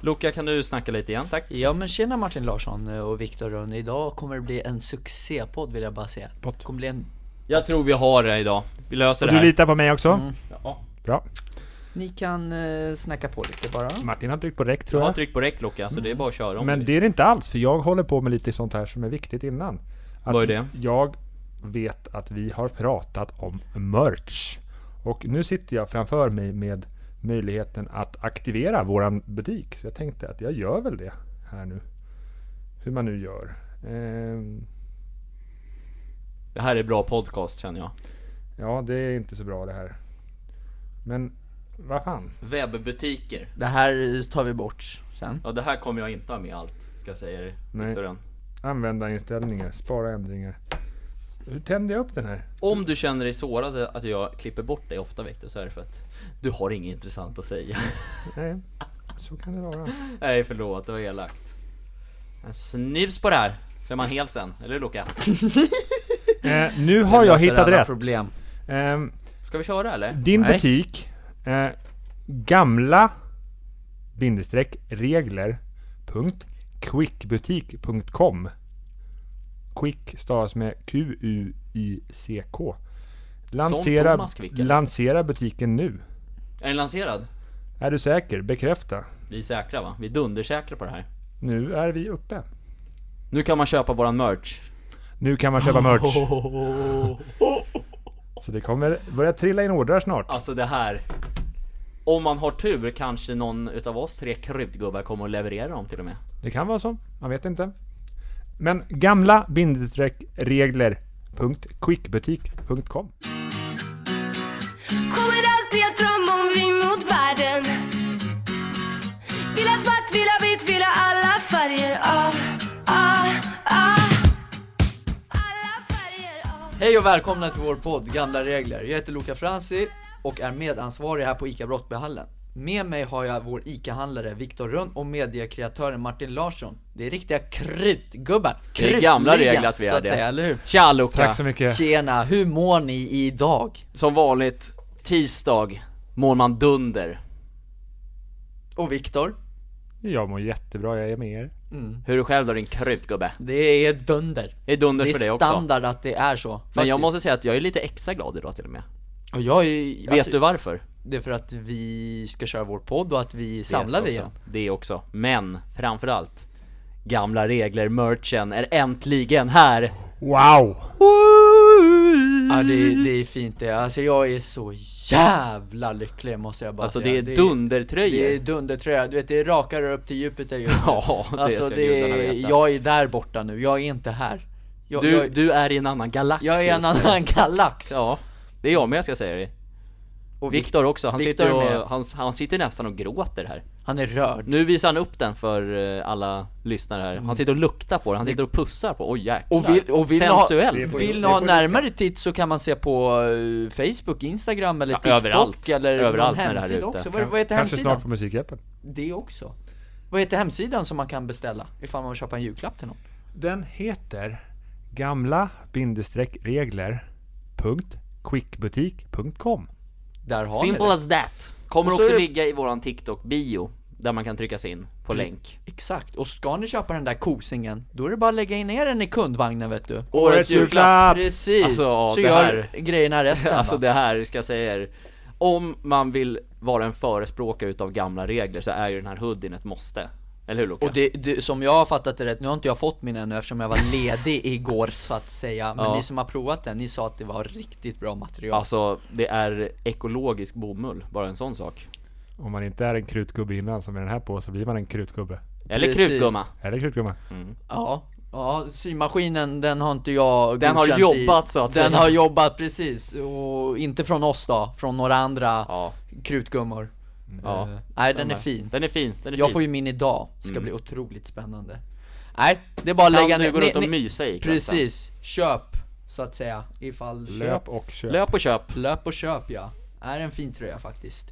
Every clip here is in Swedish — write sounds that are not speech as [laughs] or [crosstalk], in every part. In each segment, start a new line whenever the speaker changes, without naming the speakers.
Luca, kan du snacka lite igen? Tack.
Ja men tjena Martin Larsson eh, och Viktor Rönn. Idag kommer det bli en succépodd vill jag bara säga.
Pott.
Kommer bli en...
Jag tror vi har det idag. Vi löser
Och
det
du
här.
litar på mig också?
Ja.
Bra.
Ni kan eh, snacka på lite bara.
Martin har tryckt på räck
Du
tror
har
jag.
tryck på räck Luca, så det är bara att köra om
Men
du
det
vill.
är det inte alls, för jag håller på med lite sånt här som är viktigt innan. Att
Vad är det?
Jag vet att vi har pratat om merch. Och nu sitter jag framför mig med möjligheten att aktivera våran butik. Så jag tänkte att jag gör väl det här nu. Hur man nu gör. Ehm,
det här är bra podcast känner jag.
ja, det är inte så bra det här. Men vad fan.
Webbutiker.
Det här eh, tar vi bort sen.
Ja, det här kommer jag inte ha med allt, ska jag säga dig,
Nej.
Viktor Rönn.
Användarinställningar, spara ändringar. Hur tände jag upp den här?
Om du känner dig sårad att jag klipper bort dig ofta Viktor, så är det för att du har inget intressant att
[laughs]
säga.
Nej, så kan det vara.
Nej, förlåt, det var elakt. En snus på det här, så är man hel sen. Eller Luca?
Eh, nu har jag
Löser
hittat
alla
rätt.
Problem.
Ehm,
Ska vi köra eller?
din
Nej.
butik, eh, gamla bindestreck regler punkt quickbutik.com Quick stavas med Q-U-I-C-K. Lansera,
Thomas Quick, eller?
lansera butiken nu.
Är den lanserad?
Är du säker? Bekräfta.
Vi är säkra va? Vi är dundersäkra på det här.
Nu är vi uppe.
Nu kan man köpa våran merch.
Nu kan man
[laughs]
köpa merch. Så det kommer börja trilla in ordrar snart.
Alltså det här. Om man har tur kanske någon utav oss tre kryddgubbar kommer och leverera dem till och med.
Det kan vara så, man vet inte. Men gamla bindestreck regler.quickbutik.com
Kommer alltid att drömma om vi mot världen Vill ha svart, vill ha vitt, vill ha alla färger ah, ah, ah. Alla färger ah.
Hej och välkomna till vår podd Gamla Regler. Jag heter Luca Franzi och är medansvarig här på ICA Brottbyhallen. Med mig har jag vår ICA-handlare Viktor Rönn och mediekreatören Martin Larsson. Det är riktiga krutgubbar.
Det är gamla
Krutliga,
regler att vi
så
är
att säga,
det.
eller hur?
Tja Luca!
Tack så mycket.
Tjena, hur mår ni idag?
Som vanligt, tisdag mår man dunder.
Och Viktor?
Jag mår jättebra, jag är med er.
Hur är du själv då din kryddgubbe?
Det är dunder.
Det är dunder
Det
för dig
är
också.
standard att det är så.
Men jag
faktiskt.
måste säga att jag är lite extra glad idag till och med.
Och jag är, alltså,
Vet du varför?
Det är för att vi ska köra vår podd och att vi är
Det är så
samlade
också.
igen.
Det också. Men framförallt, gamla regler, merchen är äntligen här!
Wow!
Ja det, det är fint det, alltså jag är så jävla lycklig måste jag bara
Alltså det
säga
är dundertröjor.
Det är dundertröja, du vet det är raka rör upp till Jupiter just nu
[laughs] Ja, det
Alltså
ska
det
gudarna
är,
veta.
jag är där borta nu, jag är inte här Jag,
Du,
jag,
du är i en annan galax
jag är en
just nu.
annan [laughs] galax
Ja, det är jag med ska jag säga dig.
Och Vic-
Viktor också, han
Viktor är
sitter,
med.
och, han, han sitter nästan och gråter här.
Han är rörd
Nu visar han upp den för eh, alla lyssnare här. Han sitter och luktar på den, han sitter och pussar på, oj jäklar.
Och vill- och vill ha-
Sensuellt!
Det är
Vill ni
det
ha
får jag
närmare titt så kan man se på eh, Facebook, Instagram eller
Ja,
TikTok
överallt.
eller
Överallt
någon
när det här är
hemsida
ute.
också, vad, vad heter
Kanske
hemsidan?
snart på Musikhjälpen.
Det också Vad heter hemsidan som man kan beställa ifall man vill köpa en julklapp till någon?
Den heter gamla bindestreck regler.quickbutik.com
Där har ni
Simple
det
as that! Kommer
Och så
också
är det-
ligga i våran TikTok-bio, där man kan tryckas in på
Mm.
länk.
Exakt, och ska ni köpa den där kosingen, då är det bara att lägga in er den i kundvagnen vet du
Årets
julklapp!
Precis!
Alltså,
så
det
gör
här- [laughs]
grejerna resten va?
Alltså det här ska jag säga er Om man vill vara en förespråkare utav gamla regler så är ju den här hoodien ett måste Eller hur Luca?
Och det, det, som jag har fattat det rätt, nu har inte jag fått min ännu eftersom jag var ledig [laughs] igår så att säga Men
Ja.
ni som har provat den, ni sa att det var riktigt bra material
Alltså det är ekologisk bomull, bara en sån sak
Om man inte är en krutgubbe innan som är den här på så blir man en krutgubbe.
Eller
Precis.
krutgumma
Eller krutgumma.
Ja, ja symaskinen den har inte jag
Den har
godkänt
jobbat,
i.
så att
Den
säga.
har jobbat precis, och inte från oss då, från några andra
Ja, Mm.
krutgummor
ja
Eh, Nej den är fin
Den är fin, den är
Jag
fin Mm.
får ju min idag, ska bli otroligt spännande Nej, det är bara att lägga
Kan du gå
Ni-
runt och
ni-
mysa i kvällen sen?
Precis, köp så att säga ifall
Löp och köp.
Löp och köp
Löp och köp ja, är en fin tröja faktiskt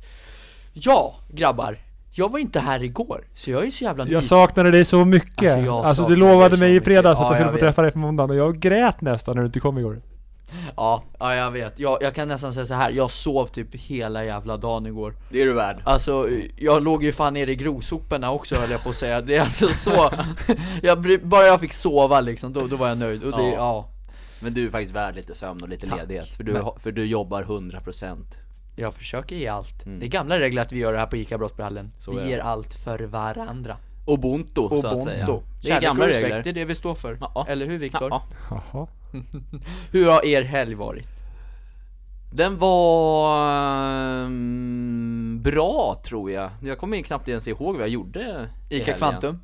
Ja, grabbar, jag var inte här igår, så jag är så jävla
Jag
nyfiken
saknade dig så mycket.
Alltså,
Alltså,
jag
du
saknade dig
lovade
så
mig i
mycket.
fredags
Ja,
att jag skulle
jag
få
vet.
träffa dig på måndagen och jag grät nästan när du inte kom igår.
Ja, ja jag vet. Jag, jag kan nästan säga så här. jag sov typ hela jävla dagen igår.
Det är du värd.
Alltså, jag låg ju fan nere i grovsoporna också höll jag på att säga. Det är alltså så, [laughs] jag, bry- bara jag fick sova liksom, då, då var jag nöjd. Och det,
Ja.
ja.
Men du är faktiskt värd lite sömn och lite
Tack.
ledighet. För du,
Men-
har- för du jobbar 100%.
Jag försöker ge allt. Det är gamla regler att vi gör det här på ICA Brottbyhallen.
Mm. Så är
Vi
det.
ger allt för varandra.
Ubuntu, så att säga. Det är
Kärlek
gamla
och respekt,
regler.
det är det vi står för.
Ja.
Eller hur Viktor?
Ja.
Jaha.
Hur har er helg varit?
Den var ehm, bra tror jag. Jag kommer ju knappt ens ihåg vad jag gjorde i
ICA
helgen.
Kvantum?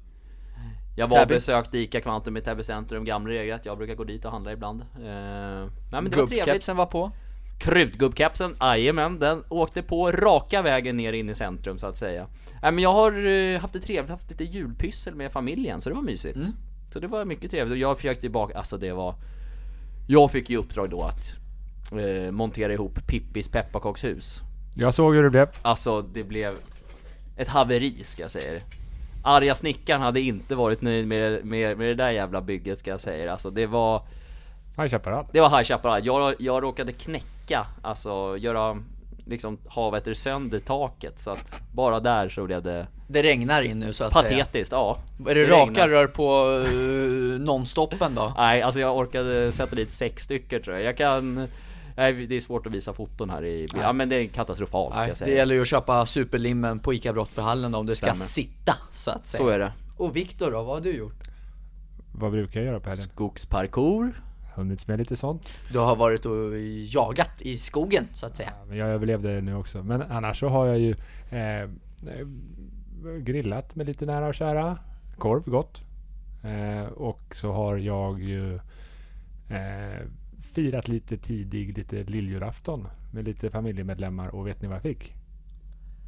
Jag var och
Täby.
besökte ICA Kvantum i Täby centrum, gamla regret. Jag brukar gå dit och handla ibland. Eh, nej men det var trevligt.
Gubbkepsen var på.
Krutgubbkepsen, jajamän, den åkte på raka vägen ner in i centrum så att säga. Nej men jag har eh, haft det trevligt, haft lite julpyssel med familjen så det var mysigt. Så det var mycket trevligt och jag försökte tillbaka, alltså det var... Jag fick ju i uppdrag då att eh, montera ihop Pippis pepparkakshus.
Jag såg hur det blev.
Alltså det blev ett haveri ska jag säga er. Arga snickaren hade inte varit nöjd med, med, med det där jävla bygget ska jag säga er. Alltså det var,
Han köper allt.
det var High Chaparral. Jag, jag råkade knäcka, alltså göra liksom havet sönder taket så att bara där så blev det
Det regnar in nu så att säga.
patetiskt, ja.
Är det,
regnar.
raka rör på uh, nonstoppen då?
Nej, alltså jag orkade sätta dit sex stycken tror jag. Jag kan... Nej, det är svårt att visa foton här i [laughs] Ja men det är katastrofalt ska
Nej,
jag
det
säga.
gäller ju att köpa superlimmen på ICA Brottbyhallen om det ska
Stämmer.
sitta så att säga.
Så är det.
Och Viktor då, vad har du gjort?
Vad brukar jag göra på helgen?
Skogsparkour.
Hunnits med lite sånt.
Du har varit och jagat i skogen så att säga.
Men Jag överlevde nu också. Men annars så har jag ju eh, eh, grillat med lite nära och kära. Korv, gott. Eh, och så har jag ju eh, firat lite tidig, lite lilljulafton med lite familjemedlemmar. Och vet ni vad jag fick?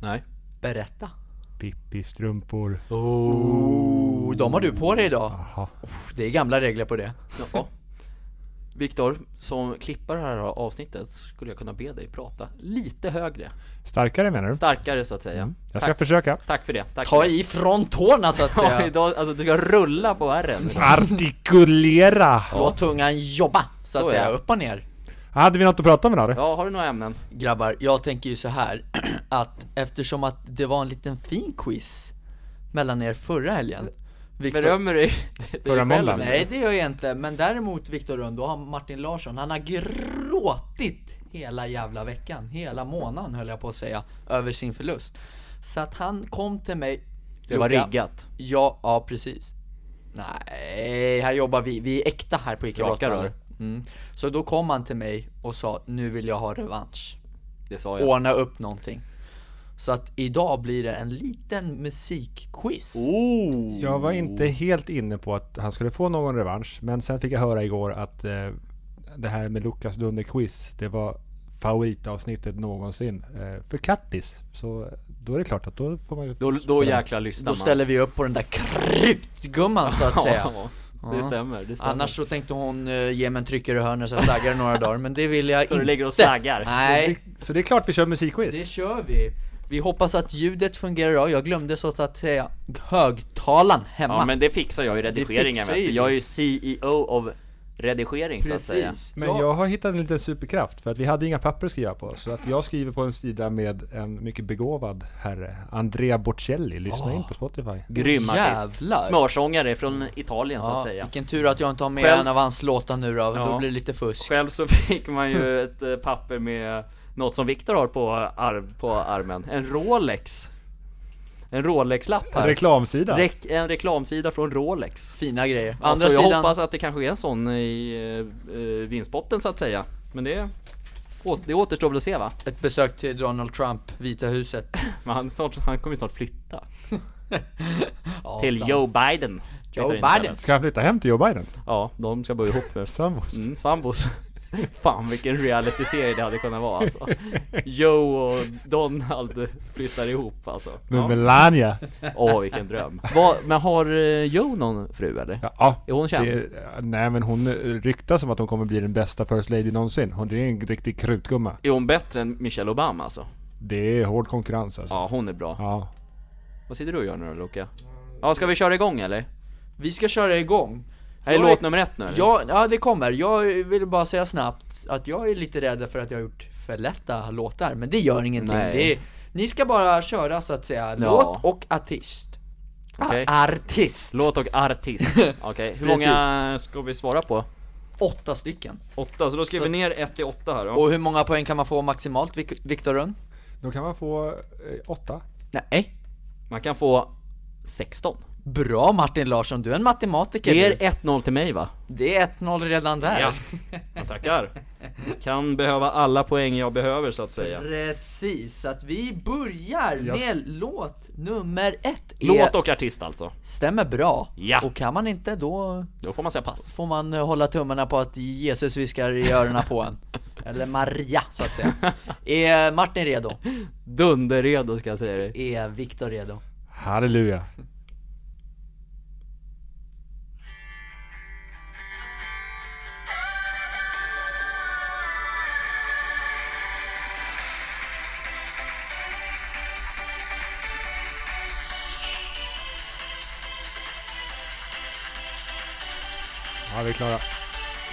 Nej.
Berätta.
Pippi-strumpor.
Oh, de har du på dig idag.
Jaha.
Det är gamla regler på det.
Ja. Viktor, som klippar det här avsnittet skulle jag kunna be dig prata lite högre.
Starkare menar du?
Starkare så att säga.
Mm. Jag ska
Tack.
försöka.
Tack för det. Tack
Ta
för det.
ifrån tårna så att
Ja,
säga.
idag, alltså du ska rulla på ärren.
Artikulera!
Låt tungan jobba så att
Så är
säga,
det.
upp och ner.
Hade vi något att prata om idag? eller?
Ja, har du några ämnen?
Grabbar, jag tänker ju så här [clears throat] att eftersom att det var en liten fin quiz mellan er förra helgen. Viktor,
Berömmer dig? dig
Förra
själv?
måndagen.
nej det gör jag inte, men däremot Viktor Rönn, då har Martin Larsson, han har gråtit hela jävla veckan, hela månaden höll jag på att säga, över sin förlust. Så att han kom till mig
Det var
Luka,
riggat.
Ja, ja precis. Nej, här jobbar vi, vi är äkta här på ICA
Raka
Brottbyhallen.
rör.
Mm. Så då kom han till mig och sa, nu vill jag ha revansch.
Det sa jag.
Ordna upp någonting. Så att idag blir det en liten musikquiz.
Oh.
Jag var inte helt inne på att han skulle få någon revansch, men sen fick jag höra igår att eh, det här med Lukas Dunder-quiz, det var favoritavsnittet någonsin eh, för Kattis. Så då är det klart att då får man ju...
Då, då jäkla lyssnar
Då
man.
ställer vi upp på den där kryptgumman
[laughs]
så att säga.
Ja, det stämmer. Det stämmer.
Annars så tänkte hon eh, ge mig en tryckare i hörnet så jag slaggar i några dagar, men det vill [laughs] jag
så
inte.
du ligger och slaggar.
Nej,
Så det är klart vi kör
[laughs]
musikquiz.
Det kör vi! Vi hoppas att ljudet fungerar idag, jag glömde så att säga högtalaren hemma
Ja, men det fixar jag i redigeringen.
fixar
vet du.
ju
Jag är ju CEO av redigering så att säga.
Precis!
Men
Ja,
jag har hittat en liten superkraft för att vi hade inga papper att skriva på. Så att jag skriver på en sida med en mycket begåvad herre, Andrea Bocelli. Lyssna
Ah.
in på Spotify.
Grym artist.
Jävlar.
Smörsångare från Italien så att säga.
Vilken tur att jag inte har med
Själv-
en av hans låtar nu då,
Ja.
då blir det lite fusk
Själv så fick man
[laughs]
ju ett eh, papper med något som Viktor har på, arm, på armen. En Rolex. En Rolex-lapp här.
Reklamsida.
Rek- en reklamsida från Rolex.
Fina grejer, å
Andra
andra
så Alltså, jag
sidan,
hoppas att det kanske är en sån i eh, eh, vinstbotten så att säga. Men det, å- det återstår väl att se va?
ett besök till Donald Trump, Vita huset
Men han, snart, han kommer ju snart flytta.
[laughs] Ja,
Till
fan.
Joe Biden.
Joe
Heter det inte,
Biden.
eller?
Ska han flytta hem till Joe Biden?
Ja, de ska bo ihop nu.
Sambos.
[laughs] Mm, sambos. [laughs] Fan vilken realityserie det hade kunnat vara
[laughs]
alltså. Joe och Donald flyttar ihop alltså.
Med
Ja.
Melania.
Åh vilken dröm. Vad- men har eh, Joe någon fru eller?
Ja,
Är hon känd?
Det, nej men hon ryktas som att hon kommer bli den bästa First Lady någonsin. Hon det är en riktig krutgumma.
Är hon bättre än Michelle Obama alltså?
Det är hård konkurrens alltså.
Ja hon är bra.
Ja.
Vad sitter du och gör nu då Loka? Ja ska vi köra igång eller?
Vi ska köra igång
Här är
Jag
låt
är-
nummer ett nu eller?
Ja, ja, det kommer. Jag vill bara säga snabbt att jag är lite rädd för att jag har gjort för lätta låtar, men det gör ingenting.
Nej.
Det är, ni ska bara köra så att säga, låt och artist.
Okej.
Ah, artist!
Låt och artist. Okej, hur
Precis.
många ska vi svara på?
Åtta stycken.
Åtta, så då skriver vi ner ett till åtta här då.
Och hur många poäng kan man få maximalt, Vik- Viktor Rönn?
Då kan man få eh, åtta.
Nej.
Man kan få 16.
Bra Martin Larsson, du är en matematiker.
Det är
du.
1-0 till mig va?
det är 1-0 redan där.
Ja, jag tackar. Kan behöva alla poäng jag behöver så att säga.
Precis, så att vi börjar
Ja.
med låt nummer ett.
Låt
Är-
och artist alltså.
Stämmer bra.
Ja.
Och kan man inte då
Då får man säga pass.
får man eh, hålla tummarna på att Jesus viskar i öronen
[laughs]
på en. Eller Maria, så att säga. Är Martin redo?
Dunderredo ska jag säga dig.
Är Viktor redo?
Halleluja. Ja, vi är klara.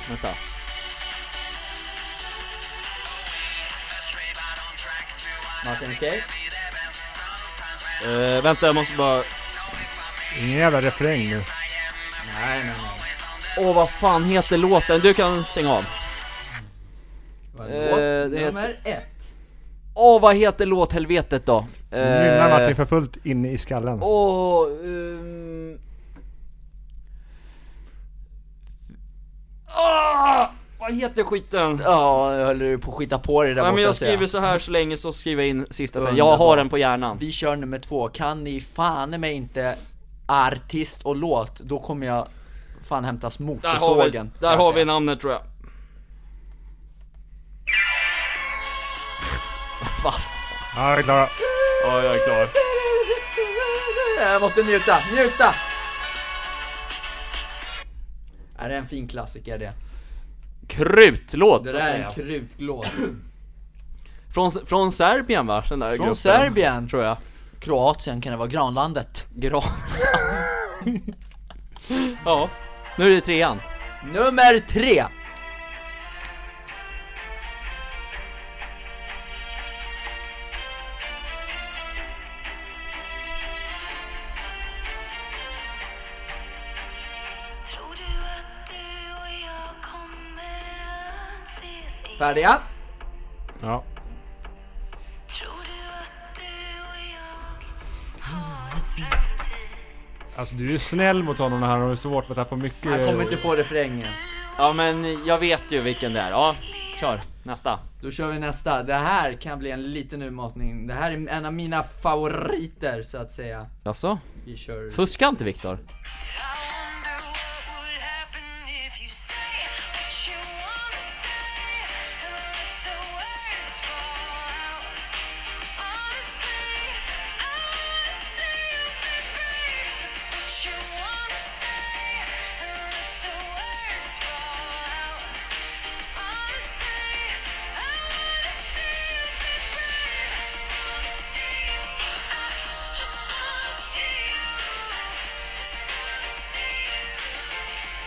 Vänta.
Martin, okej?
Eh, vänta, jag måste bara...
Ingen jävla refräng nu.
Nej, nej, nej.
Åh, vad fan heter låten? Du kan stänga av.
Vad
Eh,
är
det
låt
heter-
nummer ett.
Åh, vad heter låthelvetet då? Eh,
Nynnar Martin för fullt inne i skallen.
Eh.
Åh, ehm... ah, Vad heter skiten?
Ja, jag höll ju på att skita på dig där
Nej men
borta,
jag
ser jag.
skriver så här så länge så skriver jag in sista sen. Jag
Underbart.
har den på hjärnan.
Vi kör nummer två. Kan ni fan mig inte artist och låt, då kommer jag fan hämtas
Där har vi,
motorsågen.
där har vi namnet tror jag.
Ja, vi är klara.
Ja, jag är klar.
Jag måste njuta, njuta! Är det en fin klassiker det?
Krutlåt
Det
så att
där är
säga.
en krutlåt.
Från, från Serbien va? Den där
Från
gruppen.
Serbien.
Tror jag.
Kroatien kan det vara granlandet.
Gran. [laughs] ja, nu är det trean.
Nummer tre!
Tror du att du och jag kommer att ses igen?
Färdiga?
Ja.
Tror du att du och jag har en framtid?
Alltså du är ju snäll mot honom när han har svårt för att han får mycket...
Jag kommer inte på refrängen.
Ja men jag vet ju vilken det är. Ja, kör. Nästa.
Då kör vi nästa. Det här kan bli en liten utmaning. Det här är en av mina favoriter så att säga.
Alltså,
Vi kör...
fuska inte Viktor.
I wonder what would happen if you say what you wanna say and let the words fall out. Honestly, I wanna see you be brave with what you wanna say and let the words fall out. Honestly, I wanna see you be brave. Just wanna see you. I just wanna see you. Just wanna see you.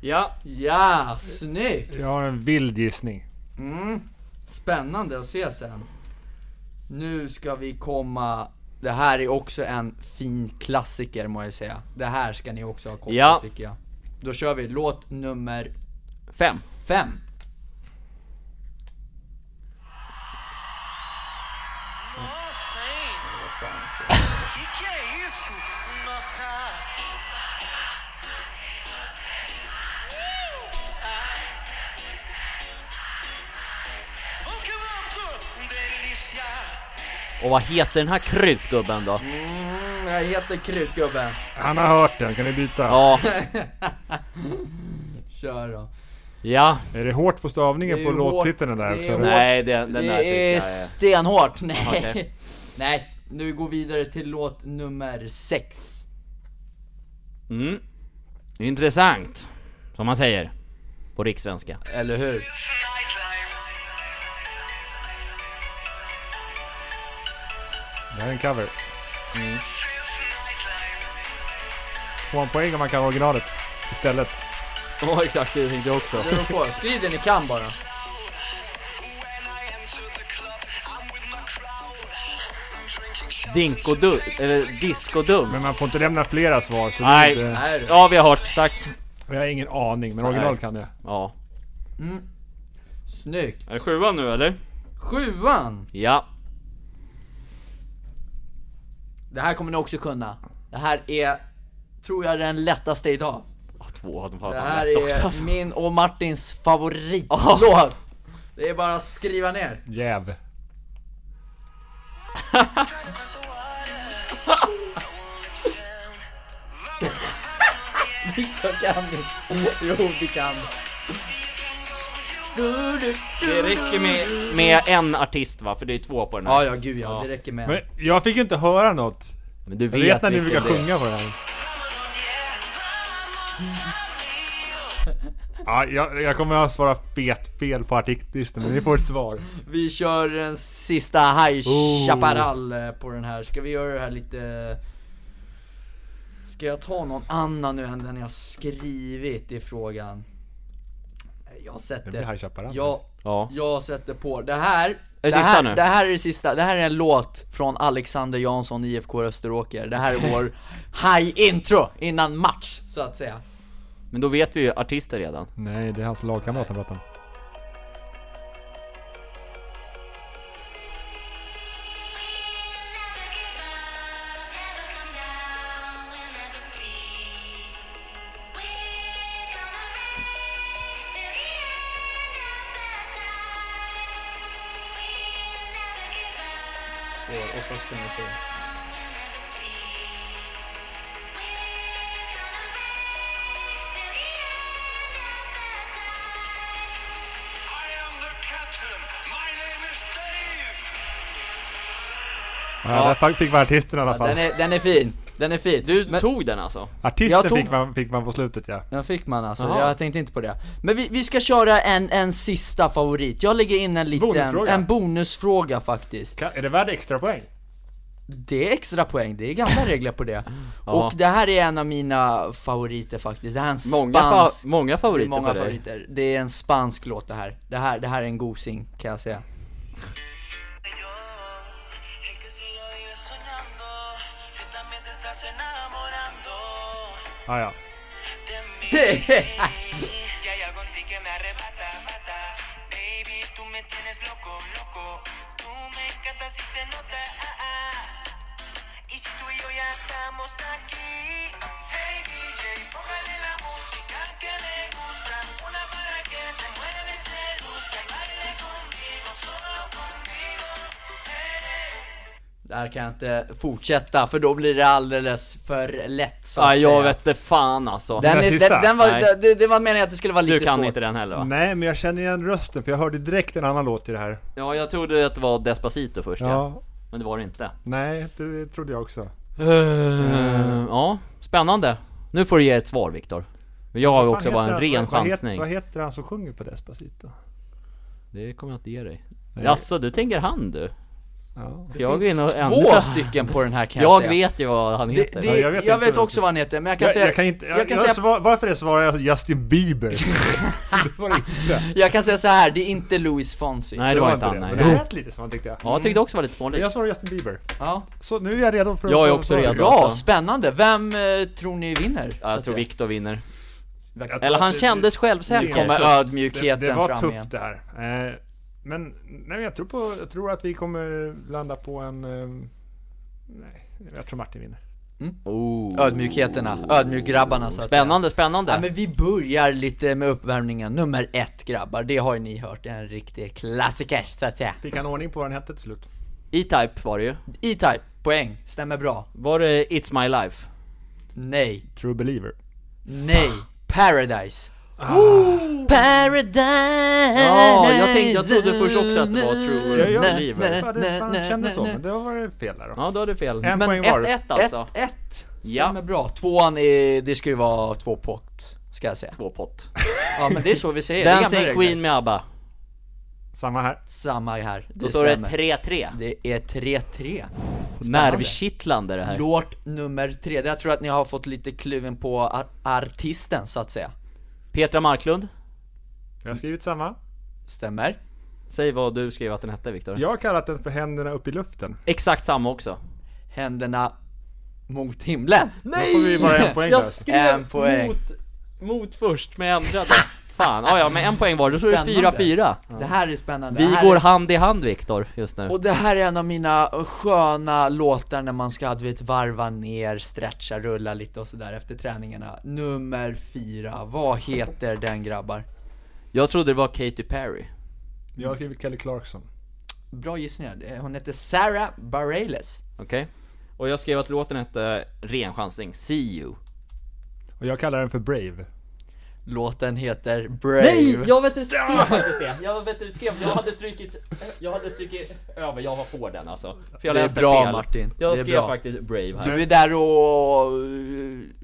Ja,
Ja, snyggt!
Jag har en vild gissning.
Mm. Spännande att se sen. Nu ska vi komma... Det här är också en fin klassiker må jag säga. Det här ska ni också ha koll på
Ja.
tycker jag. Då kör vi låt nummer
fem.
fem.
Que que é isso? Nossa. Ah. Vamos que vamos, delícia.
Och vad heter den här krutgubben då?
Mm, jag heter Krutgubben.
Han har hört den, kan ni byta?
Ja,
[laughs] Kör då.
ja.
Är det hårt på stavningen
Det är
på
ju hårt.
låttiteln där
Det är
också?
hårt.
eller?
Nej, den, den där
det är
tycker jag är...
stenhårt, nej. [laughs]
Okej.
Nej, nu går vi vidare till låt nummer sex.
Mm. Intressant. Som man säger. På rikssvenska.
Eller hur?
Det här är en cover.
Feels
Får man poäng om man kan originalet istället?
Ja exakt, det tänkte jag också.
Det beror på, skriv det ni kan bara.
When I enter the club, I'm with my crowd. I'm drinking shots and
Dinkodum, eller diskodum.
Men man får inte lämna flera svar. Så det är
Nej.
Inte,
Nej du.
Ja vi har hört, tack.
jag har ingen aning, men original
Nej.
kan jag.
Ja.
Snyggt.
Är det sjuan nu eller?
Sjuan!
Ja.
Det här kommer ni också kunna. Det här är, tror jag, den lättaste idag.
Ah, Två hade fan
Det här
rätt också alltså.
är min och Martins favoritlåt. Det är bara att skriva ner. [laughs]
Jäv.
trying to cross the water. I won't let you down. Vocals, vocals,
Jag kan inte.
yeah.
Jo, vi kan.
[laughs] Det räcker med, med en artist va? För det är två på den här.
Ja, ja, gud ja. Det räcker med.
Men jag fick ju inte höra något.
Men du
Jag
vet,
vet när ni brukar
vilken det är.
sjunga på det här. Ja, jag, jag kommer att svara fet fel på artistlistan, men ni får ett svar.
Vi kör en sista High Chaparral
Oh.
eh, på den här. Ska vi göra det här lite... Ska jag ta någon annan nu än den jag skrivit i frågan? Jag
Det
sätter...
blir High Chaparral.
Jag,
Ja.
jag sätter på. Det här...
det sista
här,
nu?
det här är det sista, det här är en låt från Alexander Jansson IFK Österåker Det här
[laughs]
är vår high intro innan match, så att säga
Men då vet vi ju artister redan.
Nej, det är hans lagkamrat han pratar om.
I am the captain. My name is Dave.
Ja, där fick man artisten i alla fall.
Den är, den är fin, den är fin
Du
Men-
tog den alltså?
Artisten
jag tog-
fick, man, fick man på slutet ja.
Den fick man alltså,
Jaha.
jag tänkte inte på det. Men vi, vi ska köra en, en sista favorit, jag lägger in en liten,
Bonusfråga.
en bonusfråga faktiskt.
Kan, är det värd extra poäng?
Det är extra poäng, det är gamla regler på det.
[laughs] Ja.
Och det här är en av mina favoriter faktiskt, det här är en
Många, fa-
spansk...
många
det
favoriter
är många
på dig.
favoriter. Det är en spansk låt det här. Det här, det här är en gosing kan jag säga.
Yo, el que solo vive soñando, que también te estás enamorando
Ah, ja.
de mí. y hay algo en ti que me arrebata, mata. Baby, tú me tienes loco, loco. Tú me encantas y se nota. ah, ah. Y si tú y yo ya estamos aquí, hey DJ, póngale la música que le gusta. Una para que se mueve, y se luzca y baile conmigo, solo conmigo. Hey.
Där kan jag inte fortsätta för då blir det alldeles för lätt så att
Ja, jag
säga.
vet inte fan alltså.
Den,
Den
är,
sista?
den, den var,
Nej.
det, det- det var meningen att det skulle vara lite
du kan
svårt.
inte den heller va?
Nej, men jag känner igen rösten för jag hörde direkt en annan låt i det här.
Ja, jag trodde att det var Despacito först ja.
Ja,
Men det var det inte.
nej, det trodde jag också. Mm.
Eh, Ja, spännande. Nu får du ge ett svar Viktor. Jag har ju
Vad
också
fan
bara en
heter
ren
han- vad- vad heter-
chansning.
Vad heter han som sjunger på Despacito?
Det kommer jag inte ge dig. Jaså, du tänker han du?
Ja.
Ska jag gå in och
Två
ändra?
stycken på den här kan jag,
Jag
säga.
vet ju vad han
Det,
heter.
det,
Ja,
jag
jag
vet,
vet
jag
inte
vet
vad
också vad han heter, men jag kan
Jag,
säga
jag kan inte, jag,
jag kan
jag
säga-
svar, varför det svarar jag
[laughs]
Justin Bieber? det var det inte.
jag kan säga så här, det är inte Louis Fonsi
Nej, det var inte han.
det.
nej.
Men det lät lite som han tyckte jag.
Ja, jag tyckte också det var lite smålikt.
Jag svarar Justin Bieber.
Ja,
Så nu är jag redo för att
Jag är
få
också
svaret.
redo.
ja
Alltså.
spännande, vem eh, tror ni vinner? så
Ja,
att
jag tror
säga?
Viktor vinner.
Jag tror
Eller
att
han
det-
kändes
det-
självsäker.
det
kommer
Ja,
Det,
ödmjukheten
det var
fram
tufft
igen
det här. Eh, men nej, jag, tror på, jag tror att vi kommer landa på en... Eh, nej, jag tror Martin vinner.
Oh.
Ödmjukheterna, ödmjukgrabbarna så att säga.
Spännande,
Ja,
spännande.
men vi börjar lite med uppvärmningen, nummer ett grabbar, det har ju ni hört, det är en riktig klassiker så att säga
Fick han ordning på vad den hette till slut?
E-Type var det ju.
E-Type, poäng, stämmer bra
Var det It's My Life?
Nej,
True Believer.
nej, Paradise Paradise
Ja, Ah. jag tänkte, jag trodde först också att det var True
Ja, ja.
Believer.
Ja, det fan kändes så, men det var fel där då.
Ja, då hade du fel.
En
Men
poäng var.
1-1 alltså.
1-1,
Ja.
stämmer bra. Tvåan är, det ska ju vara två pott, ska jag säga.
Två pott.
Ja men det är så vi säger, det är
Dancing
gamla regler.
Queen med ABBA.
Samma här.
Samma här, det
Då står det
stämmer.
3-3.
Det är 3-3.
nervkittlande det här.
Låt nummer tre, jag tror att ni har fått lite kluven på ar- artisten så att säga
Petra Marklund,
Jag har skrivit samma.
Stämmer?
säg vad du skrev att den hette Viktor.
Jag har kallat den för Händerna upp i luften.
Exakt samma också.
Händerna mot himlen
Nej! Då får vi bara en poäng
Jag
där.
skrev
En poäng.
Mot, mot först, men jag ändrade. [laughs] Fan, ja, ja men en poäng var, då står det
Spännande.
4-4.
Det här är spännande
Vi
det här
går
är...
hand i hand Viktor, just nu.
Och det här är en av mina sköna låtar när man ska du vet varva ner, stretcha, rulla lite och sådär efter träningarna Nummer fyra, vad heter den grabbar?
Jag trodde det var Katy Perry.
Jag har skrivit Kelly Clarkson.
Bra gissningar, Eh, hon heter Sarah Bareilles
Okej? Och jag skrev att låten hette, ren chansning, See You.
Och jag kallar den för Brave.
Låten heter Brave
Nej! Jag vet du skrev faktiskt det. Jag vet du skrev, jag hade strykit, jag hade strykit över, jag var på den alltså. För jag
Det är
läste
bra,
fel.
Martin.
Jag
Det är
skrev
bra.
faktiskt Brave här.
Du är där och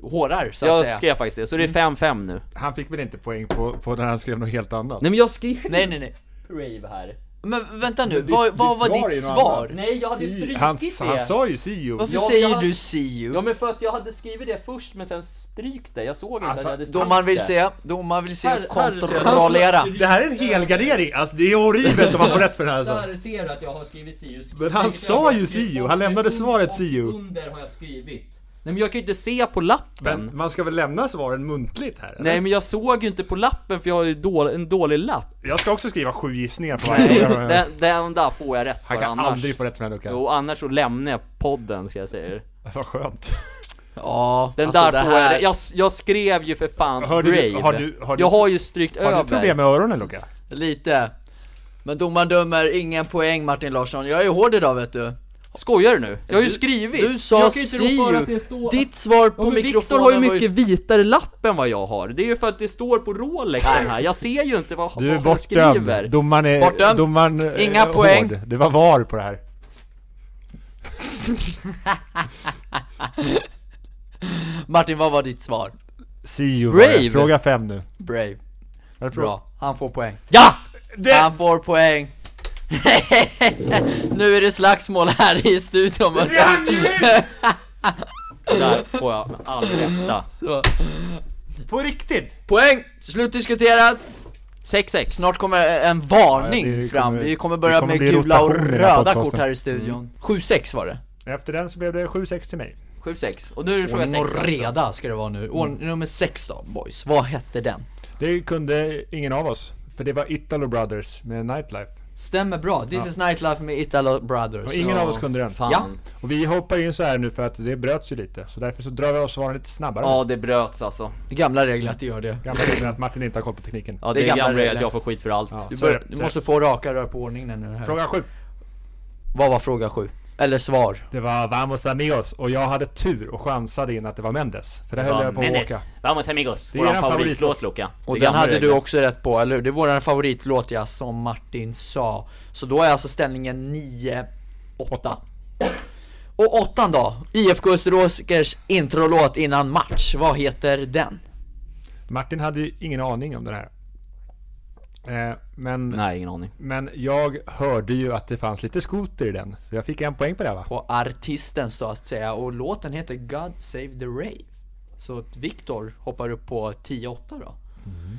eh, hårar så att
Jag
säga
skrev faktiskt det, så det är 5-5 nu.
Han fick väl inte poäng på, på när han skrev något helt annat?
Nej men jag skrev
Nej nej nej,
Brave här.
men vänta nu,
ditt-
vad, vad
ditt
var
svar
ditt
är något annat.
svar?
Nej jag hade strykit
han,
det.
han sa ju Sio.
Varför
Ja,
säger
jag-
du see you?
Ja men för att jag hade skrivit det först men sen strykt det, jag såg inte att
Alltså,
jag hade
Då
strykt
man vill
det.
se, då man vill
Här-
se
här ser jag.
kontrollera
Det här är en helgardering, alltså det är horribelt om man får rätt för det här alltså.
Där ser du att jag har skrivit Sio.
Men han sa ju Sio, han lämnade svaret Sio.
Och under har jag skrivit. Nej men jag kan ju inte se på lappen.
Men man ska väl lämna svaren muntligt här? eller?
Nej men jag såg ju inte på lappen för jag har ju då, en dålig lapp.
Jag ska också skriva sju gissningar på
Nej,
varje fråga.
den, den där får jag rätt för
Han kan
annars.
aldrig få rätt för den här Luka.
Jo, annars så lämnar jag podden ska jag säga er. [laughs]
Vad skönt.
Ja,
Den
alltså
där
det
får jag
här-
rätt. Jag, s- jag skrev ju för fan
Hörde du-
Brave.
har du- har du-
jag har ju strykt över.
Har du problem med öronen Luka?
Lite Men domaren dömer ingen poäng Martin Larsson, jag är hård idag vet du
Skojar du nu? Jag har ju
Du-
skrivit!
Du sa
jag kan ju inte rå
see
för
you,
att det står...
ditt svar på
ja, men Viktor
mikrofonen
har ju
var
mycket vitare lapp än vad jag har. Det är ju för att det står på Rolexen här. Jag ser ju inte vad,
Du är
vad jag skriver.
bortdömd. Domaren är...
Bortdömd.
Domaren är
Inga
hård.
poäng.
Det var VAR på det här.
Martin vad var ditt svar?
Sio var det.
Brave.
Fråga fem nu.
Brave,
Är det fråga-
bra, han får poäng
Ja!
Han får poäng [laughs] Nu är det slagsmål här i studion vad säger du?
Där får jag all rätta.
Så.
På riktigt!
Poäng! Slut diskuterat!
6-6.
Snart kommer en
Ja,
varning
det
fram,
kommer-
vi kommer
det
börja
kommer
med
bli
gula och
rotation i den här
röda
podcasten. Mm.
kort här i studion 7-6 var det
Efter den så blev det 7-6 till mig.
7-6. Och nu är det fråga
Ordning
6.
och reda ska det vara nu, Ordning
Mm.
nummer 6 då boys, vad hette den?
Det kunde ingen av oss. För det var Italo Brothers med Nightlife.
Stämmer bra, This is Nightlife med Italo Brothers
Och ingen av oss kunde den.
Fan.
Ja.
Ja.
Och vi hoppar in så här nu för att det bröts ju lite. Så därför så drar vi oss svaren lite snabbare.
ja, det bröts alltså.
Det gamla regler att du gör det
Gamla regler att Martin inte har koll på tekniken.
Ja,
Det
det,
är
är
gamla
gamla regler att
regler.
jag får skit för allt.
Ja,
Du,
så är
bör,
det.
du måste få raka rör på ordningen nu här.
Fråga sju.
Vad var fråga 7? Eller svar?
Det var Vamos Amigos och jag hade tur och chansade in att det var Mendes. För det höll jag på att åka.
Vamos amigos.
Det är
Våran
eran favoritlåt.
favoritlåt Luka.
Och
Det är
den
gamla
hade du
regler.
också rätt på, eller hur? Det är våran favoritlåt ja, som Martin sa Så då är alltså ställningen 9-8 Och åttan då? IFK Österåkers introlåt innan match, vad heter den?
Martin hade ju ingen aning om den här. Eh, men,
Nej, ingen aning.
men jag hörde ju att det fanns lite skoter i den. Så jag fick en poäng på det här, va?
På artistens då att säga, och låten heter God Save the Ray Så att Viktor hoppar upp på 10-8 då
Mm.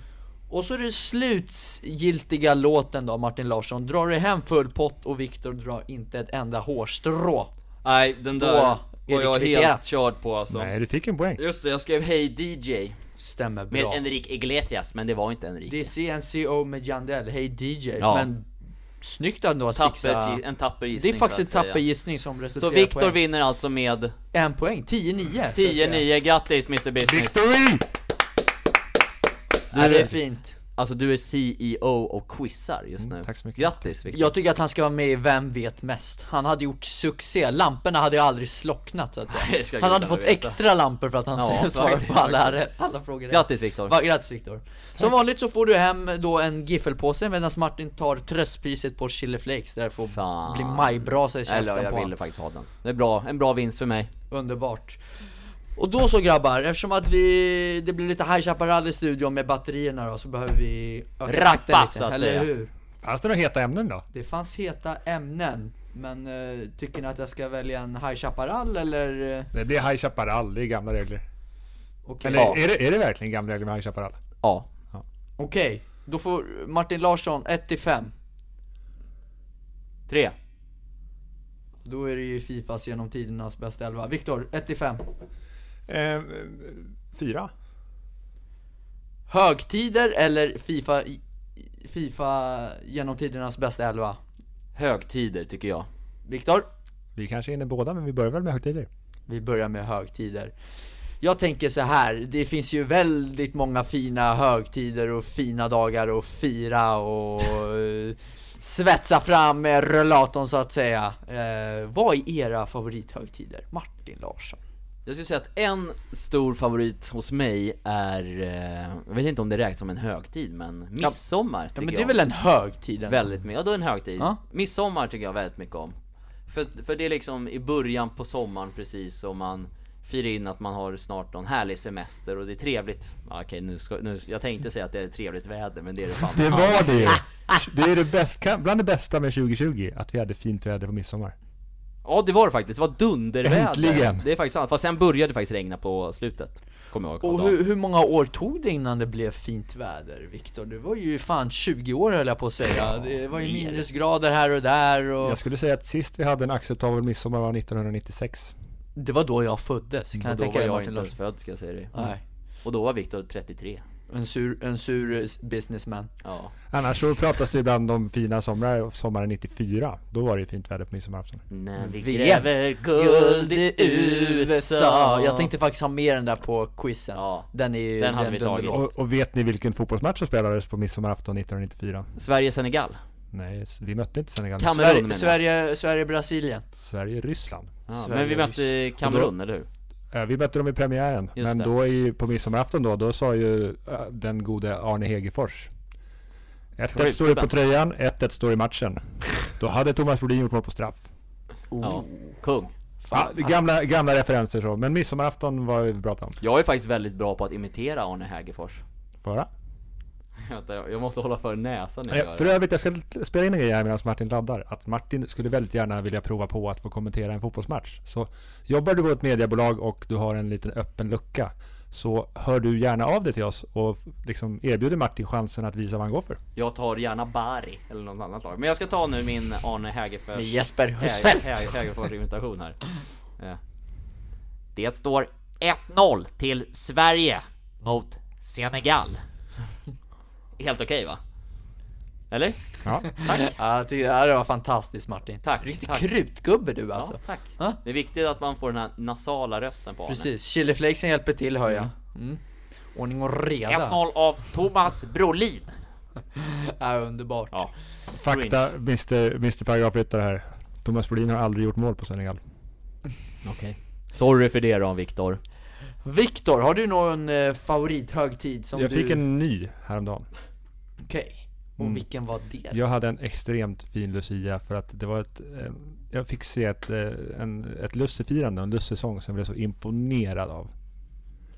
Och så är det slutgiltiga låten då Martin Larsson, drar du hem full pott och Viktor drar inte ett enda hårstrå
Nej, den
Då
där
är
var
det
jag
kvitterat.
helt körd på alltså.
Nej, du fick en poäng.
Just det, jag skrev Hej DJ
Stämmer
med
bra
Enrique Iglesias, men det var inte
Det
Enrique.
är CNCO med Jandel, Hey DJ,
Ja.
men snyggt ändå att fixa
Tapper, en tapper
Det
gissning
är faktiskt en
så att säga.
tapper gissning som
Så
resulterar
Viktor
poäng.
vinner alltså med
En poäng, 10-9
10-9, grattis Mr Business!
Victory!
Ja, det är fint
Alltså du är CEO och quizar just nu.
Mm, tack så mycket.
Grattis Viktor!
Jag tycker att han ska vara med i Vem vet mest? Han hade gjort succé, lamporna hade ju aldrig slocknat så att
det
säga
ska
Han hade
gudarna
fått
veta.
extra lampor för att han
Ja,
ja, svarade på
faktiskt,
alla, här- alla frågor rätt.
Grattis Viktor!
Va, grattis Viktor! Som vanligt så får du hem då en giffelpåse medan Martin tar tröstpriset på Chili Flakes där det får
Fan.
bli majbrasa i käften
Eller
på
jag
honom.
ville faktiskt ha den. Det är bra, en bra vinst för mig.
Underbart. Och då så grabbar, eftersom att vi, det blir lite High Chaparral i studion med batterierna då, så behöver vi öka
Rappa,
takten lite,
så att
eller
säga.
hur?
Fanns det några heta ämnen då?
Det fanns heta ämnen. Men eh, tycker ni att jag ska välja en High Chaparral eller? eh,
Det blir High Chaparral, det är gamla regler.
Okej,
Eller
Ja.
är, det, är det verkligen gamla regler med High Chaparral?
Ja.
Okej, då får Martin Larsson 1 till 5
Tre.
Då är det ju Fifas genom tidernas bästa elva Viktor, 1 till 5
Eh, fyra?
Högtider eller Fifa, i- i- Fifa genom tidernas bästa elva?
Högtider tycker jag.
Viktor?
Vi kanske är inne båda, men vi börjar väl med högtider?
Vi börjar med högtider. Jag tänker så här, det finns ju väldigt många fina högtider och fina dagar att fira och eh, svetsa fram med rullatorn så att säga. Eh, vad är era favorithögtider? Martin Larsson.
Jag skulle säga att en stor favorit hos mig är, eh, jag vet inte om det räknas som en högtid, men midsommar tycker
Ja, men det är
jag
väl en högtid? ändå?
väldigt mycket, ja då är det en högtid.
Ja.
Midsommar tycker jag väldigt mycket om. För, för det är liksom i början på sommaren precis och man firar in att man har snart någon härlig semester och det är trevligt. Ja, Okej, nu ska, nu, jag tänkte säga att det är trevligt väder, men det är det fan
Det
aldrig.
var det Det är det bästa, bland det bästa med 2020, att vi hade fint väder på midsommar.
Ja det var det faktiskt, det var dunderväder.
Äntligen.
Det är faktiskt sant, fast sen började det faktiskt regna på slutet. Kommer jag ihåg. av
Och
dagen.
hur, hur många år tog det innan det blev fint väder, Viktor? Det var ju fan 20 år höll jag på att säga. Det var ju
mer.
minusgrader här och där och...
Jag skulle säga att sist vi hade en acceptabel midsommar var 1996.
Det var Mm, då jag föddes, kan
Och
jag
då
tänka
var
mig
jag
Martin
inte
Larsson.
ens född ska jag säga det.
Nej.
Och då var Viktor 33.
En sur, en sur eh, businessman.
Ja.
Annars så pratas det ibland om fina somrar, sommaren 94. Då var det ju fint väder på midsommarafton.
När vi
VM.
gräver guld i USA.
Jag tänkte faktiskt ha med den där på quizen.
Ja.
Den är ju...
Den hade vi tagit.
dunderlåt.
Och, och vet ni vilken fotbollsmatch som spelades på midsommarafton 1994?
Sverige-Senegal.
Nej, s- vi mötte inte Senegal.
Kamerun menar
Sverige,
jag.
Sverige, Sverige, Brasilien.
Sverige, Ryssland.
Ja,
Sverige,
men vi mötte Kamerun, eller hur?
Eh, Vi mötte dem i premiären,
Just
men
det.
då i, på midsommarafton då, då sa ju eh, den gode Arne Hegerfors 1-1 står det på
Klippan.
tröjan, 1-1 står i matchen. Då hade Thomas Brolin gjort mål på straff.
Oh.
Ja. Kung.
Ja, gamla, gamla referenser så, men midsommarafton var vi pratade om.
Jag är faktiskt väldigt bra på att imitera Arne Hägerfors. [laughs]
Förra.
Vänta, jag jag måste hålla för näsan när jag
Eh,
gör
För
det.
övrigt, jag ska l- spela in en grej här medan Martin laddar. Att Martin skulle väldigt gärna vilja prova på att få kommentera en fotbollsmatch. Så jobbar du på ett mediebolag och du har en liten öppen lucka så hör du gärna av dig till oss och f- liksom erbjuder Martin chansen att visa vad han går för.
Jag tar gärna Bari eller något annat lag. Men jag ska ta nu min Arne Hägerfors...
Med Jesper
Häger-
Husfeldt.
Häger- Hägerfors imitation här. Ja. Det står 1-0 till Sverige mot Senegal. Helt okej va? Eller?
Ja.
[laughs] Ja, jag tycker- ja, det var fantastiskt Martin.
Tack,
Riktig
tack.
krutgubbe du
Ja,
alltså.
tack.
Ja.
Det är viktigt att man får den här nasala rösten på Arne.
Precis, chiliflakesen hjälper till hör jag. Mm. Ordning och reda.
1-0 av Thomas Brolin.
Ja, underbart.
Ja.
Fakta, Mr, Mr Paragrafryttare här. Thomas Brolin har aldrig gjort mål på Senegal.
Okej. Sorry för det då Viktor.
Viktor, har du någon eh, favorithögtid som
Jag
du...
fick en Mm. ny häromdagen.
Okej. Och vilken var det?
Jag hade en extremt fin Lucia för att det var ett... eh, Jag fick se ett, eh, en, ett lussefirande och en lussesång som jag blev så imponerad av.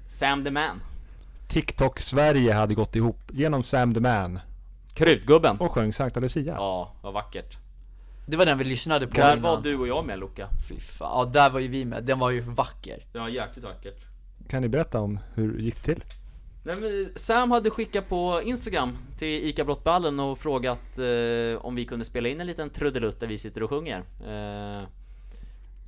Sam the man.
TikTok Sverige hade gått ihop genom Sam the Man
Krutgubben.
och sjöng Sankta Lucia.
Ja, vad vackert.
Det var den vi lyssnade på
Där
innan.
var du och jag med Luca.
Fy fan, ja där var ju vi med, den var ju vacker
Ja, jäkligt vackert.
Kan ni berätta om hur det gick till?
Nej, men Sam hade skickat på Instagram till ICA Brottballen och frågat eh, om vi kunde spela in en liten trudelutt där vi sitter och sjunger. Eh,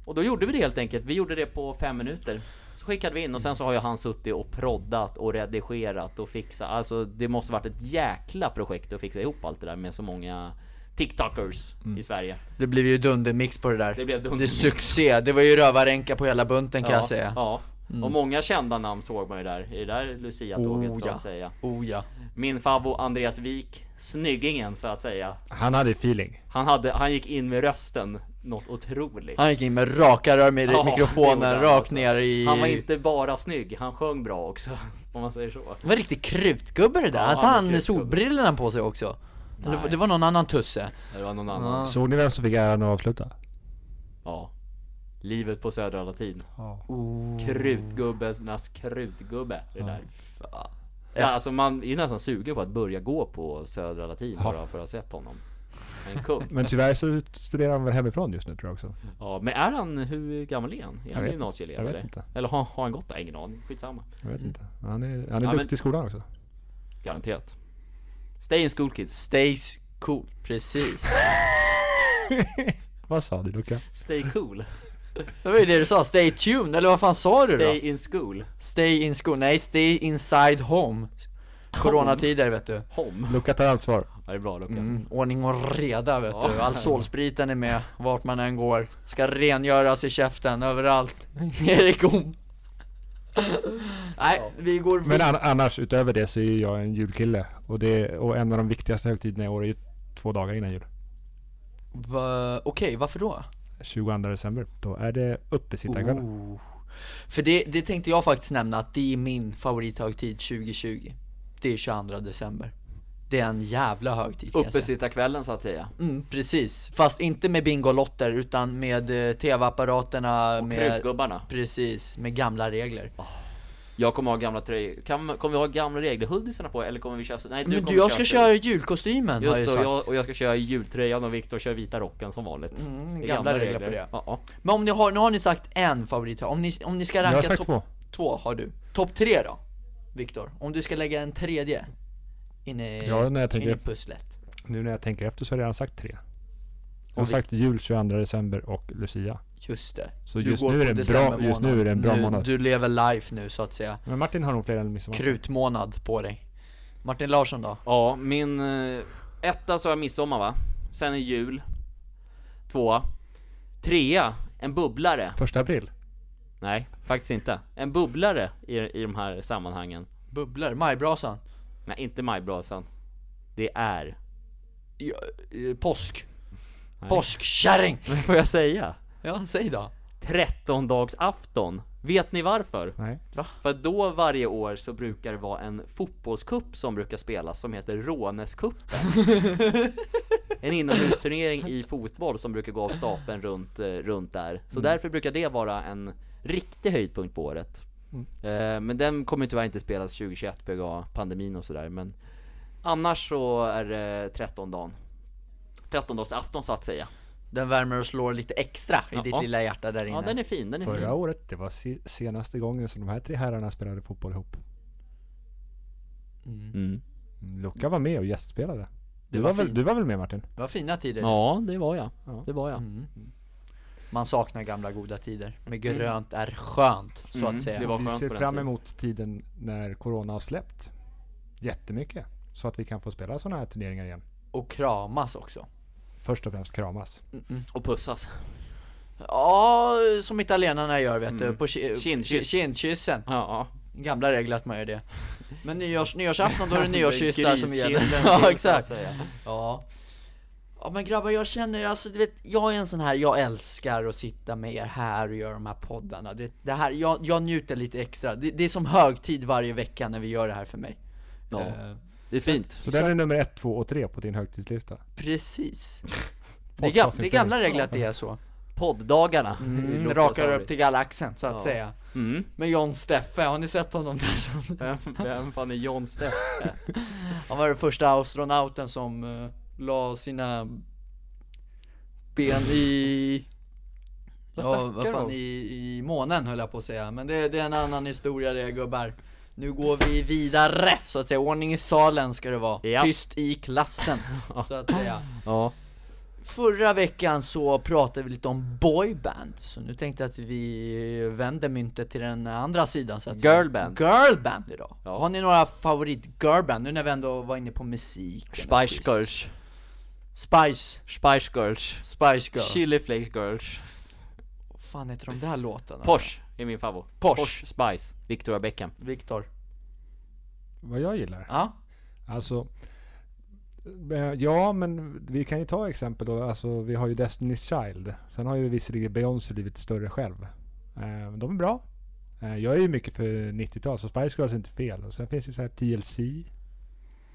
och då gjorde vi det helt enkelt. Vi gjorde det på fem minuter. Så skickade vi in och sen så har ju han suttit och proddat och redigerat och fixat. Alltså det måste varit ett jäkla projekt att fixa ihop allt det där med så många TikTokers
Mm.
i Sverige.
Det blev ju dundermix på det där
Det blev
Det är
dundermix.
succé, det var ju rövarränka på hela bunten kan
ja,
jag säga Mm.
Ja. Och många kända namn såg man ju där i det där Lucia-tåget
Oh,
så
ja.
att säga.
Oh ja
Min favvo Andreas Wik, snyggingen så att säga.
Han hade feeling.
Han, hade, han gick in med rösten något otroligt.
Han gick in med raka rör med
Ja, det gjorde
mikrofonen,
han
rakt
alltså.
ner i...
Han var inte bara snygg, han sjöng bra också. [laughs] Om man säger så.
Det var riktigt krutgubbe det där,
Ja,
hade
han var
han
krutgubbe.
solbrillorna på sig också? Eller,
Nej.
det var någon annan tusse
Det var någon annan. Ja.
Såg ni vem som fick äran att avsluta?
Livet på Södra Latin.
oh,
Krutgubbarnas krutgubbe. Det där.
fan.
Ja, alltså man är ju nästan sugen på att börja gå på Södra Latin bara för att ha sett honom. En kung.
Men tyvärr så studerar han väl hemifrån just nu tror jag också.
Ja, men är han, hur gammal är han? Är han
vet-
gymnasieelev
jag vet
eller?
inte.
Eller har, har han gått där? Ingen aning, skitsamma.
Jag vet inte. Han är, han är
Mm. Ja, men-
duktig i skolan också.
Garanterat. Stay in school kids.
Stays cool. Precis.
Vad sa du Luca?
Stay cool.
Det var ju det du sa, stay tuned, eller vad fan sa du
Stay
då?
in school.
Stay in school, nej stay inside home Coronatider vet du,
Home.
Luca tar ansvar.
Ja, det är bra Luca.
mm, ordning och reda vet
Ja.
du, Alsolspriten är med vart man än går Ska rengöras i
[laughs]
käften överallt, Erik Om Nej, vi går
Men äh.
vidare
an- annars utöver det så är ju jag en julkille. Och, det, och en av de viktigaste högtiderna i år är ju två dagar innan jul.
Va, Okej, varför då?
22 december. Då är det uppesittarkvällen.
Oh. För det, det tänkte jag faktiskt nämna att det är min favorithögtid 2020 Det är 22 december Det är en jävla högtid kan jag säga.
Uppesittarkvällen så att säga.
Mm, precis. Fast inte med bingolotter utan med eh, tv-apparaterna
Och
med
Krutgubbarna.
Precis, med gamla regler.
Jag kommer ha gamla tröjor. Kan, kommer vi ha gamla reglerhoodisarna på eller kommer vi köra så? Nej, du
Men
kommer
du, jag ska
köra
köra julkostymen har
Just
jag ju
det, och
sagt.
jag, och jag ska köra i jultröjan och Viktor kör vita rocken som vanligt.
Mm,
Det är
gamla regler på det.
Ja, ja.
Men om ni har, nu har ni sagt en favorit om ni, om ni ska
Jag
ranka
har sagt
topp
två.
två har du. Topp tre då? Viktor, om du ska lägga en tredje in i,
Ja, när jag
in
tänker-
i pusslet.
Nu när jag tänker efter så har jag redan sagt tre. Jag har
Och vi-
sagt jul 22 december och Lucia.
Just det.
Så
Du
just
går
nu,
på
är det en bra,
decembermånad.
just nu är det en bra
nu,
månad.
Du lever life nu så att säga.
Men Martin har nog fler än midsommar.
Krutmånad på dig. Martin Larsson då?
ja, min eh, etta så har jag midsommar va? Sen är jul. Tvåa. Trea, en bubblare.
Första april.
Nej, faktiskt inte. En bubblare i, i de här sammanhangen.
Bubblor, majbrasan.
Nej, inte majbrasan. Det är... [laughs]
Ja, eh, Påsk.
Nej.
Påskkärring!
Vad får jag säga?
Ja, säg då.
Trettondagsafton. Vet ni varför?
Mm.
Nej.
För då varje år så brukar det vara en fotbollskupp som brukar spelas som heter Råneskuppen. en inomhusturnering i fotboll som brukar gå av stapeln runt, eh, runt där. Så därför brukar det vara en riktig höjdpunkt på året. Eh, men den kommer tyvärr inte spelas 2021 på grund av pandemin och sådär. Men annars så är det 13 dagen. 13-dagsafton så att säga.
Den värmer och slår lite extra i ditt
Ja.
lilla hjärta där inne.
Ja den är fin, den är fin.
Förra året, det var se- senaste gången som de här tre herrarna spelade fotboll ihop.
Mm.
Luca var med och gästspelade. Du
var
var, väl,
fint.
du var väl med Martin?
Det var fina tider.
Ja det var jag, det var
Mm.
jag.
Man saknar gamla goda tider. Men grönt är skönt, så
Mm,
att säga.
det var
Vi
skönt
ser
på den
fram
tiden.
emot tiden när Corona har släppt jättemycket. Så att vi kan få spela sådana här turneringar igen.
Och kramas också.
Först och främst kramas.
Och pussas.
Ja, som italienarna gör vet du. På ki-
Kindkyss.
kindkyssen.
[laughs] Ja.
Mm. Gamla regler att man gör det. Men nyårs, nyårsafton då [laughs] är det nyårskyssar som gäller. [laughs]
Griskyssen
ja,
finns,
exakt.
så att säga.
Ja. Ja men grabbar jag känner, alltså du vet, jag är en sån här, jag älskar att sitta med er här och göra de här poddarna. Det, det här, jag, jag njuter lite extra. Det, det är som högtid varje vecka när vi gör det här för mig.
Ja.
Eh,
Det är fint.
Så den är nummer ett, två och tre på din högtidslista.
precis. Det är, gam, det är gamla regler att det är så.
Podddagarna.
Mm,
Låter
rakar
otroligt.
upp till galaxen så att
Ja.
säga.
Mm.
Men John Steffe, har ni sett honom där? som-
Vem, vem fan är John Steffe?
Han var den första astronauten som uh, la sina ben i...
Vad
ja,
snackar
vad
du
fan,
om?
i, i månen höll jag på att säga. Men det, det är en annan historia det gubbar. Nu går vi vidare så att säga. Ordning i salen ska det vara.
Ja.
Tyst i [laughs] klassen så att säga.
Ja.
Förra veckan så pratade vi lite om boyband, så nu tänkte jag att vi vänder myntet till den andra sidan så att säga.
Girlband.
Girlband idag!
Ja.
Har ni några favorit girlband? Nu när vi ändå var inne på musik
Spice Girls.
Spice,
Spice Girls.
Spice Girls
Chili Flakes Girls.
Vad fan heter de där låtarna?
Porsche är min favorit.
Porsche.
Spice. Victoria Beckham.
Viktor,
Vad jag gillar?
ja?
Alltså, eh, ja men vi kan ju ta exempel då. Alltså, vi har ju Destiny's Child. Sen har ju visserligen Beyoncé blivit större själv. Eh, De är bra. Eh, Jag är ju mycket för 90-tal så Spice Girls är inte fel. Och sen finns ju så här TLC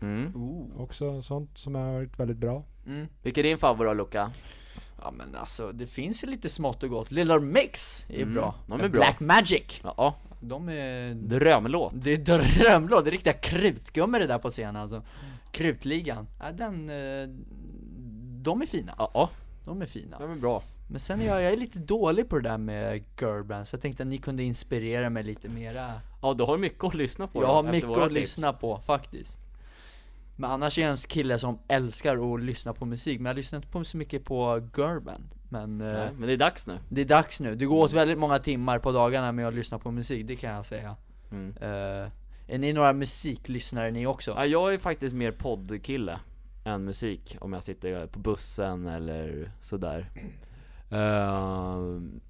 Mm.
Ooh.
också. Sånt som har varit väldigt bra.
Mm.
Vilken är din favorit då Luca?
Ja men alltså det finns ju lite smått och gott, Little Mix är
Mm,
bra
de är bra.
Black Magic,
Ja,
de är...
drömlåt.
Det är drömblå, det är riktiga krutgummor det där på scenen alltså Krutligan, ja, den, eh, de är fina.
Ja, ja,
De är fina.
de är bra.
Men sen är jag, jag är lite dålig på det där med girlbands, jag tänkte att ni kunde inspirera mig lite mera
Ja, du har mycket att lyssna på.
Jag
då,
har
efter
mycket
våra
att
tips.
lyssna på faktiskt Men annars är jag en kille som älskar att lyssna på musik, men jag lyssnar inte på så mycket på girlband Men eh,
Nej, men det är dags nu.
det är dags nu, det går åt väldigt många timmar på dagarna med att lyssna på musik, det kan jag säga
Mm.
Eh, Är ni några musiklyssnare ni också?
Ja, jag är faktiskt mer poddkille än musik om jag sitter på bussen eller sådär. Ehm,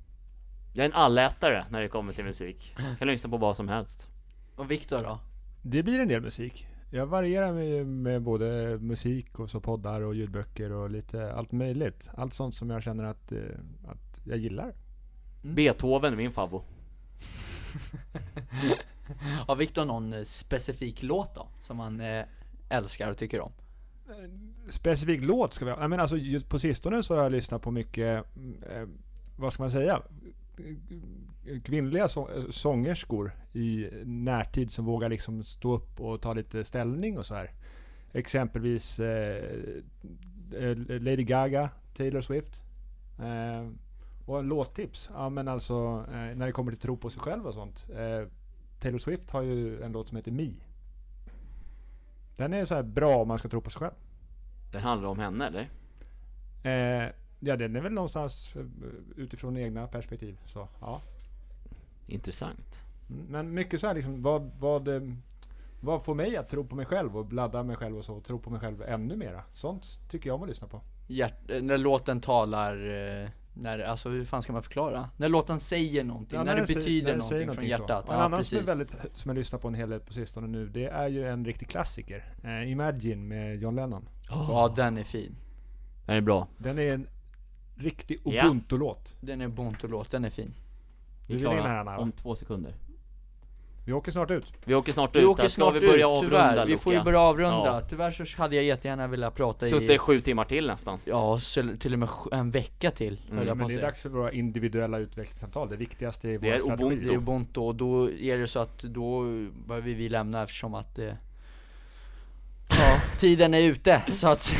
jag är en allätare när det kommer till musik. Jag kan lyssna på vad som helst.
Och Viktor då?
Det blir en del musik. Jag varierar med, med både musik och så poddar och ljudböcker och lite allt möjligt. Allt sånt som jag känner att, eh, att jag gillar.
Beethoven är min favvo.
Har Viktor någon eh, specifik låt då? Som han eh, älskar och tycker om?
Specifik låt ska vi ha. Nej, men alltså just på sistone så har jag lyssnat på mycket, eh, vad ska man säga? Kvinnliga så- eh, sångerskor i närtid som vågar liksom stå upp och ta lite ställning och så här. Exempelvis eh, eh, Lady Gaga, Taylor Swift. Eh, och en låttips. Ja men alltså eh, när det kommer till tro på sig själv och sånt. Eh, Taylor Swift har ju en låt som heter Me. Den är så här bra om man ska tro på sig själv.
Den handlar om henne eller?
Eh, ja, den är väl någonstans eh, utifrån egna perspektiv. Så, ja.
Intressant.
Mm, Men mycket så här liksom, vad, vad, eh, vad får mig att tro på mig själv och bladda mig själv och så och tro på mig själv ännu mera? Sånt tycker jag om att lyssna på.
Hjärt, eh, när låten talar, eh, när, alltså hur fan ska man förklara? När låten säger någonting,
Ja,
när, det
den säger-
betyder
den
någonting,
säger
från hjärtat.
så. Och En
Ja,
annan som, är
precis.
väldigt, som jag lyssnar på en hel del på sistone nu, det är ju en riktig klassiker. Eh, Imagine med John Lennon.
Ja, den är fin.
Den är bra.
Den är en riktig
Ja.
ubuntu-låt.
Den är Bonto-låt, den är fin.
Vi är
vill in här,
klara
Anna, va?
om två sekunder.
Vi åker snart ut.
Vi åker snart
Vi
ut.
åker
Här Ska
snart
vi börja
ut,
avrunda
tyvärr. Vi
Luca?
får ju börja avrunda.
Ja.
Tyvärr så hade jag jättegärna velat prata
Suttit
i,
i sju timmar till
[laughs]
nästan.
ja, så- till och med sj- en vecka till,
Mm.
höll jag på
Men
att
det är
säga.
dags för våra individuella utvecklingssamtal. Det viktigaste är vår
är
strategi.
ubuntu.
Det är ju Bonto, och då är det så att då behöver vi lämna eftersom att eh, Ja, tiden är ute, så att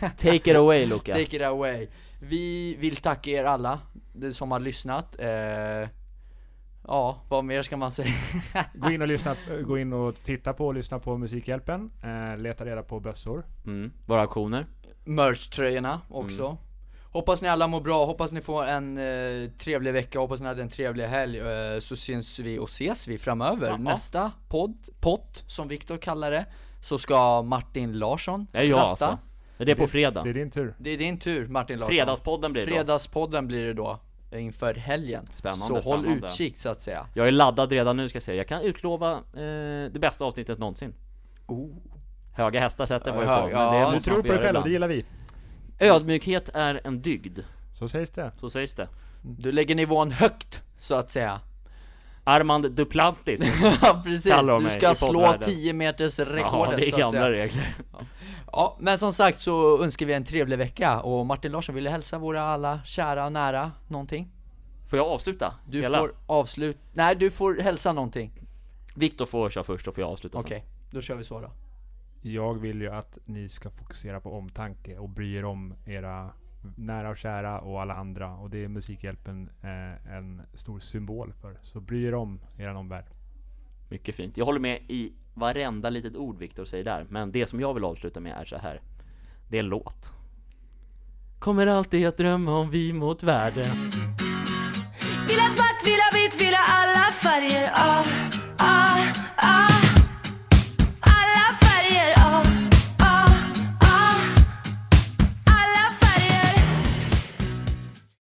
Take it away Luca.
[laughs] Take it away. Vi vill tacka er alla det som har lyssnat. Eh, ja, vad mer ska man säga?
Gå in och, lyssna, gå in och titta på och lyssna på Musikhjälpen. Eh, leta reda på bössor.
Mm. Våra auktioner.
Merch-tröjorna också.
Mm.
Hoppas ni alla mår bra, hoppas ni får en eh, trevlig vecka, hoppas ni hade en trevlig helg. Eh, så syns vi och ses vi framöver.
Ja.
Nästa podd, pott som Viktor kallar det, så ska Martin Larsson
Det är jag
ratta.
alltså. Det är på fredag.
Det är din tur.
Det är din tur Martin Larsson.
Fredagspodden blir det då.
Fredagspodden blir det då eh, inför helgen.
Spännande,
så håll
spännande.
utkik så att säga.
Jag är laddad redan nu ska jag säga. Jag kan utlova eh, det bästa avsnittet någonsin. Höga hästar sätter man ju
Oh. Ja,
på.
ja.
men det
Du
Du
måste
tror
man
på
få
dig
göra
själv, det
ibland.
gillar vi.
Ödmjukhet är en dygd.
Så sägs det.
Så sägs det.
Du lägger nivån högt, så att säga. [laughs]
Armand Duplantis.
Ja precis,
Kallar de
du
mig
ska
i
slå
poddvärlden.
10 meters
ja,
rekordet
det är
så att
gamla
säga.
regler.
Ja, men som sagt så önskar vi en trevlig vecka och Martin Larsson, vill du hälsa våra alla kära och nära någonting?
Får jag avsluta?
Du
Hela?
får avslut... Nej, du får hälsa någonting.
Viktor får köra först, och får jag avsluta sen.
Okej, då kör vi så då.
Jag vill ju att ni ska fokusera på omtanke och bry er om era nära och kära och alla andra. Och det är Musikhjälpen eh, en stor symbol för. Så bry er om er omvärld.
Mycket fint. Jag håller med i varenda litet ord Viktor säger där. Men det som jag vill avsluta med är så här. Det är en låt. Kommer alltid att drömma om vi mot världen.
Vill ha svart, vill ha vitt, vill ha alla färger av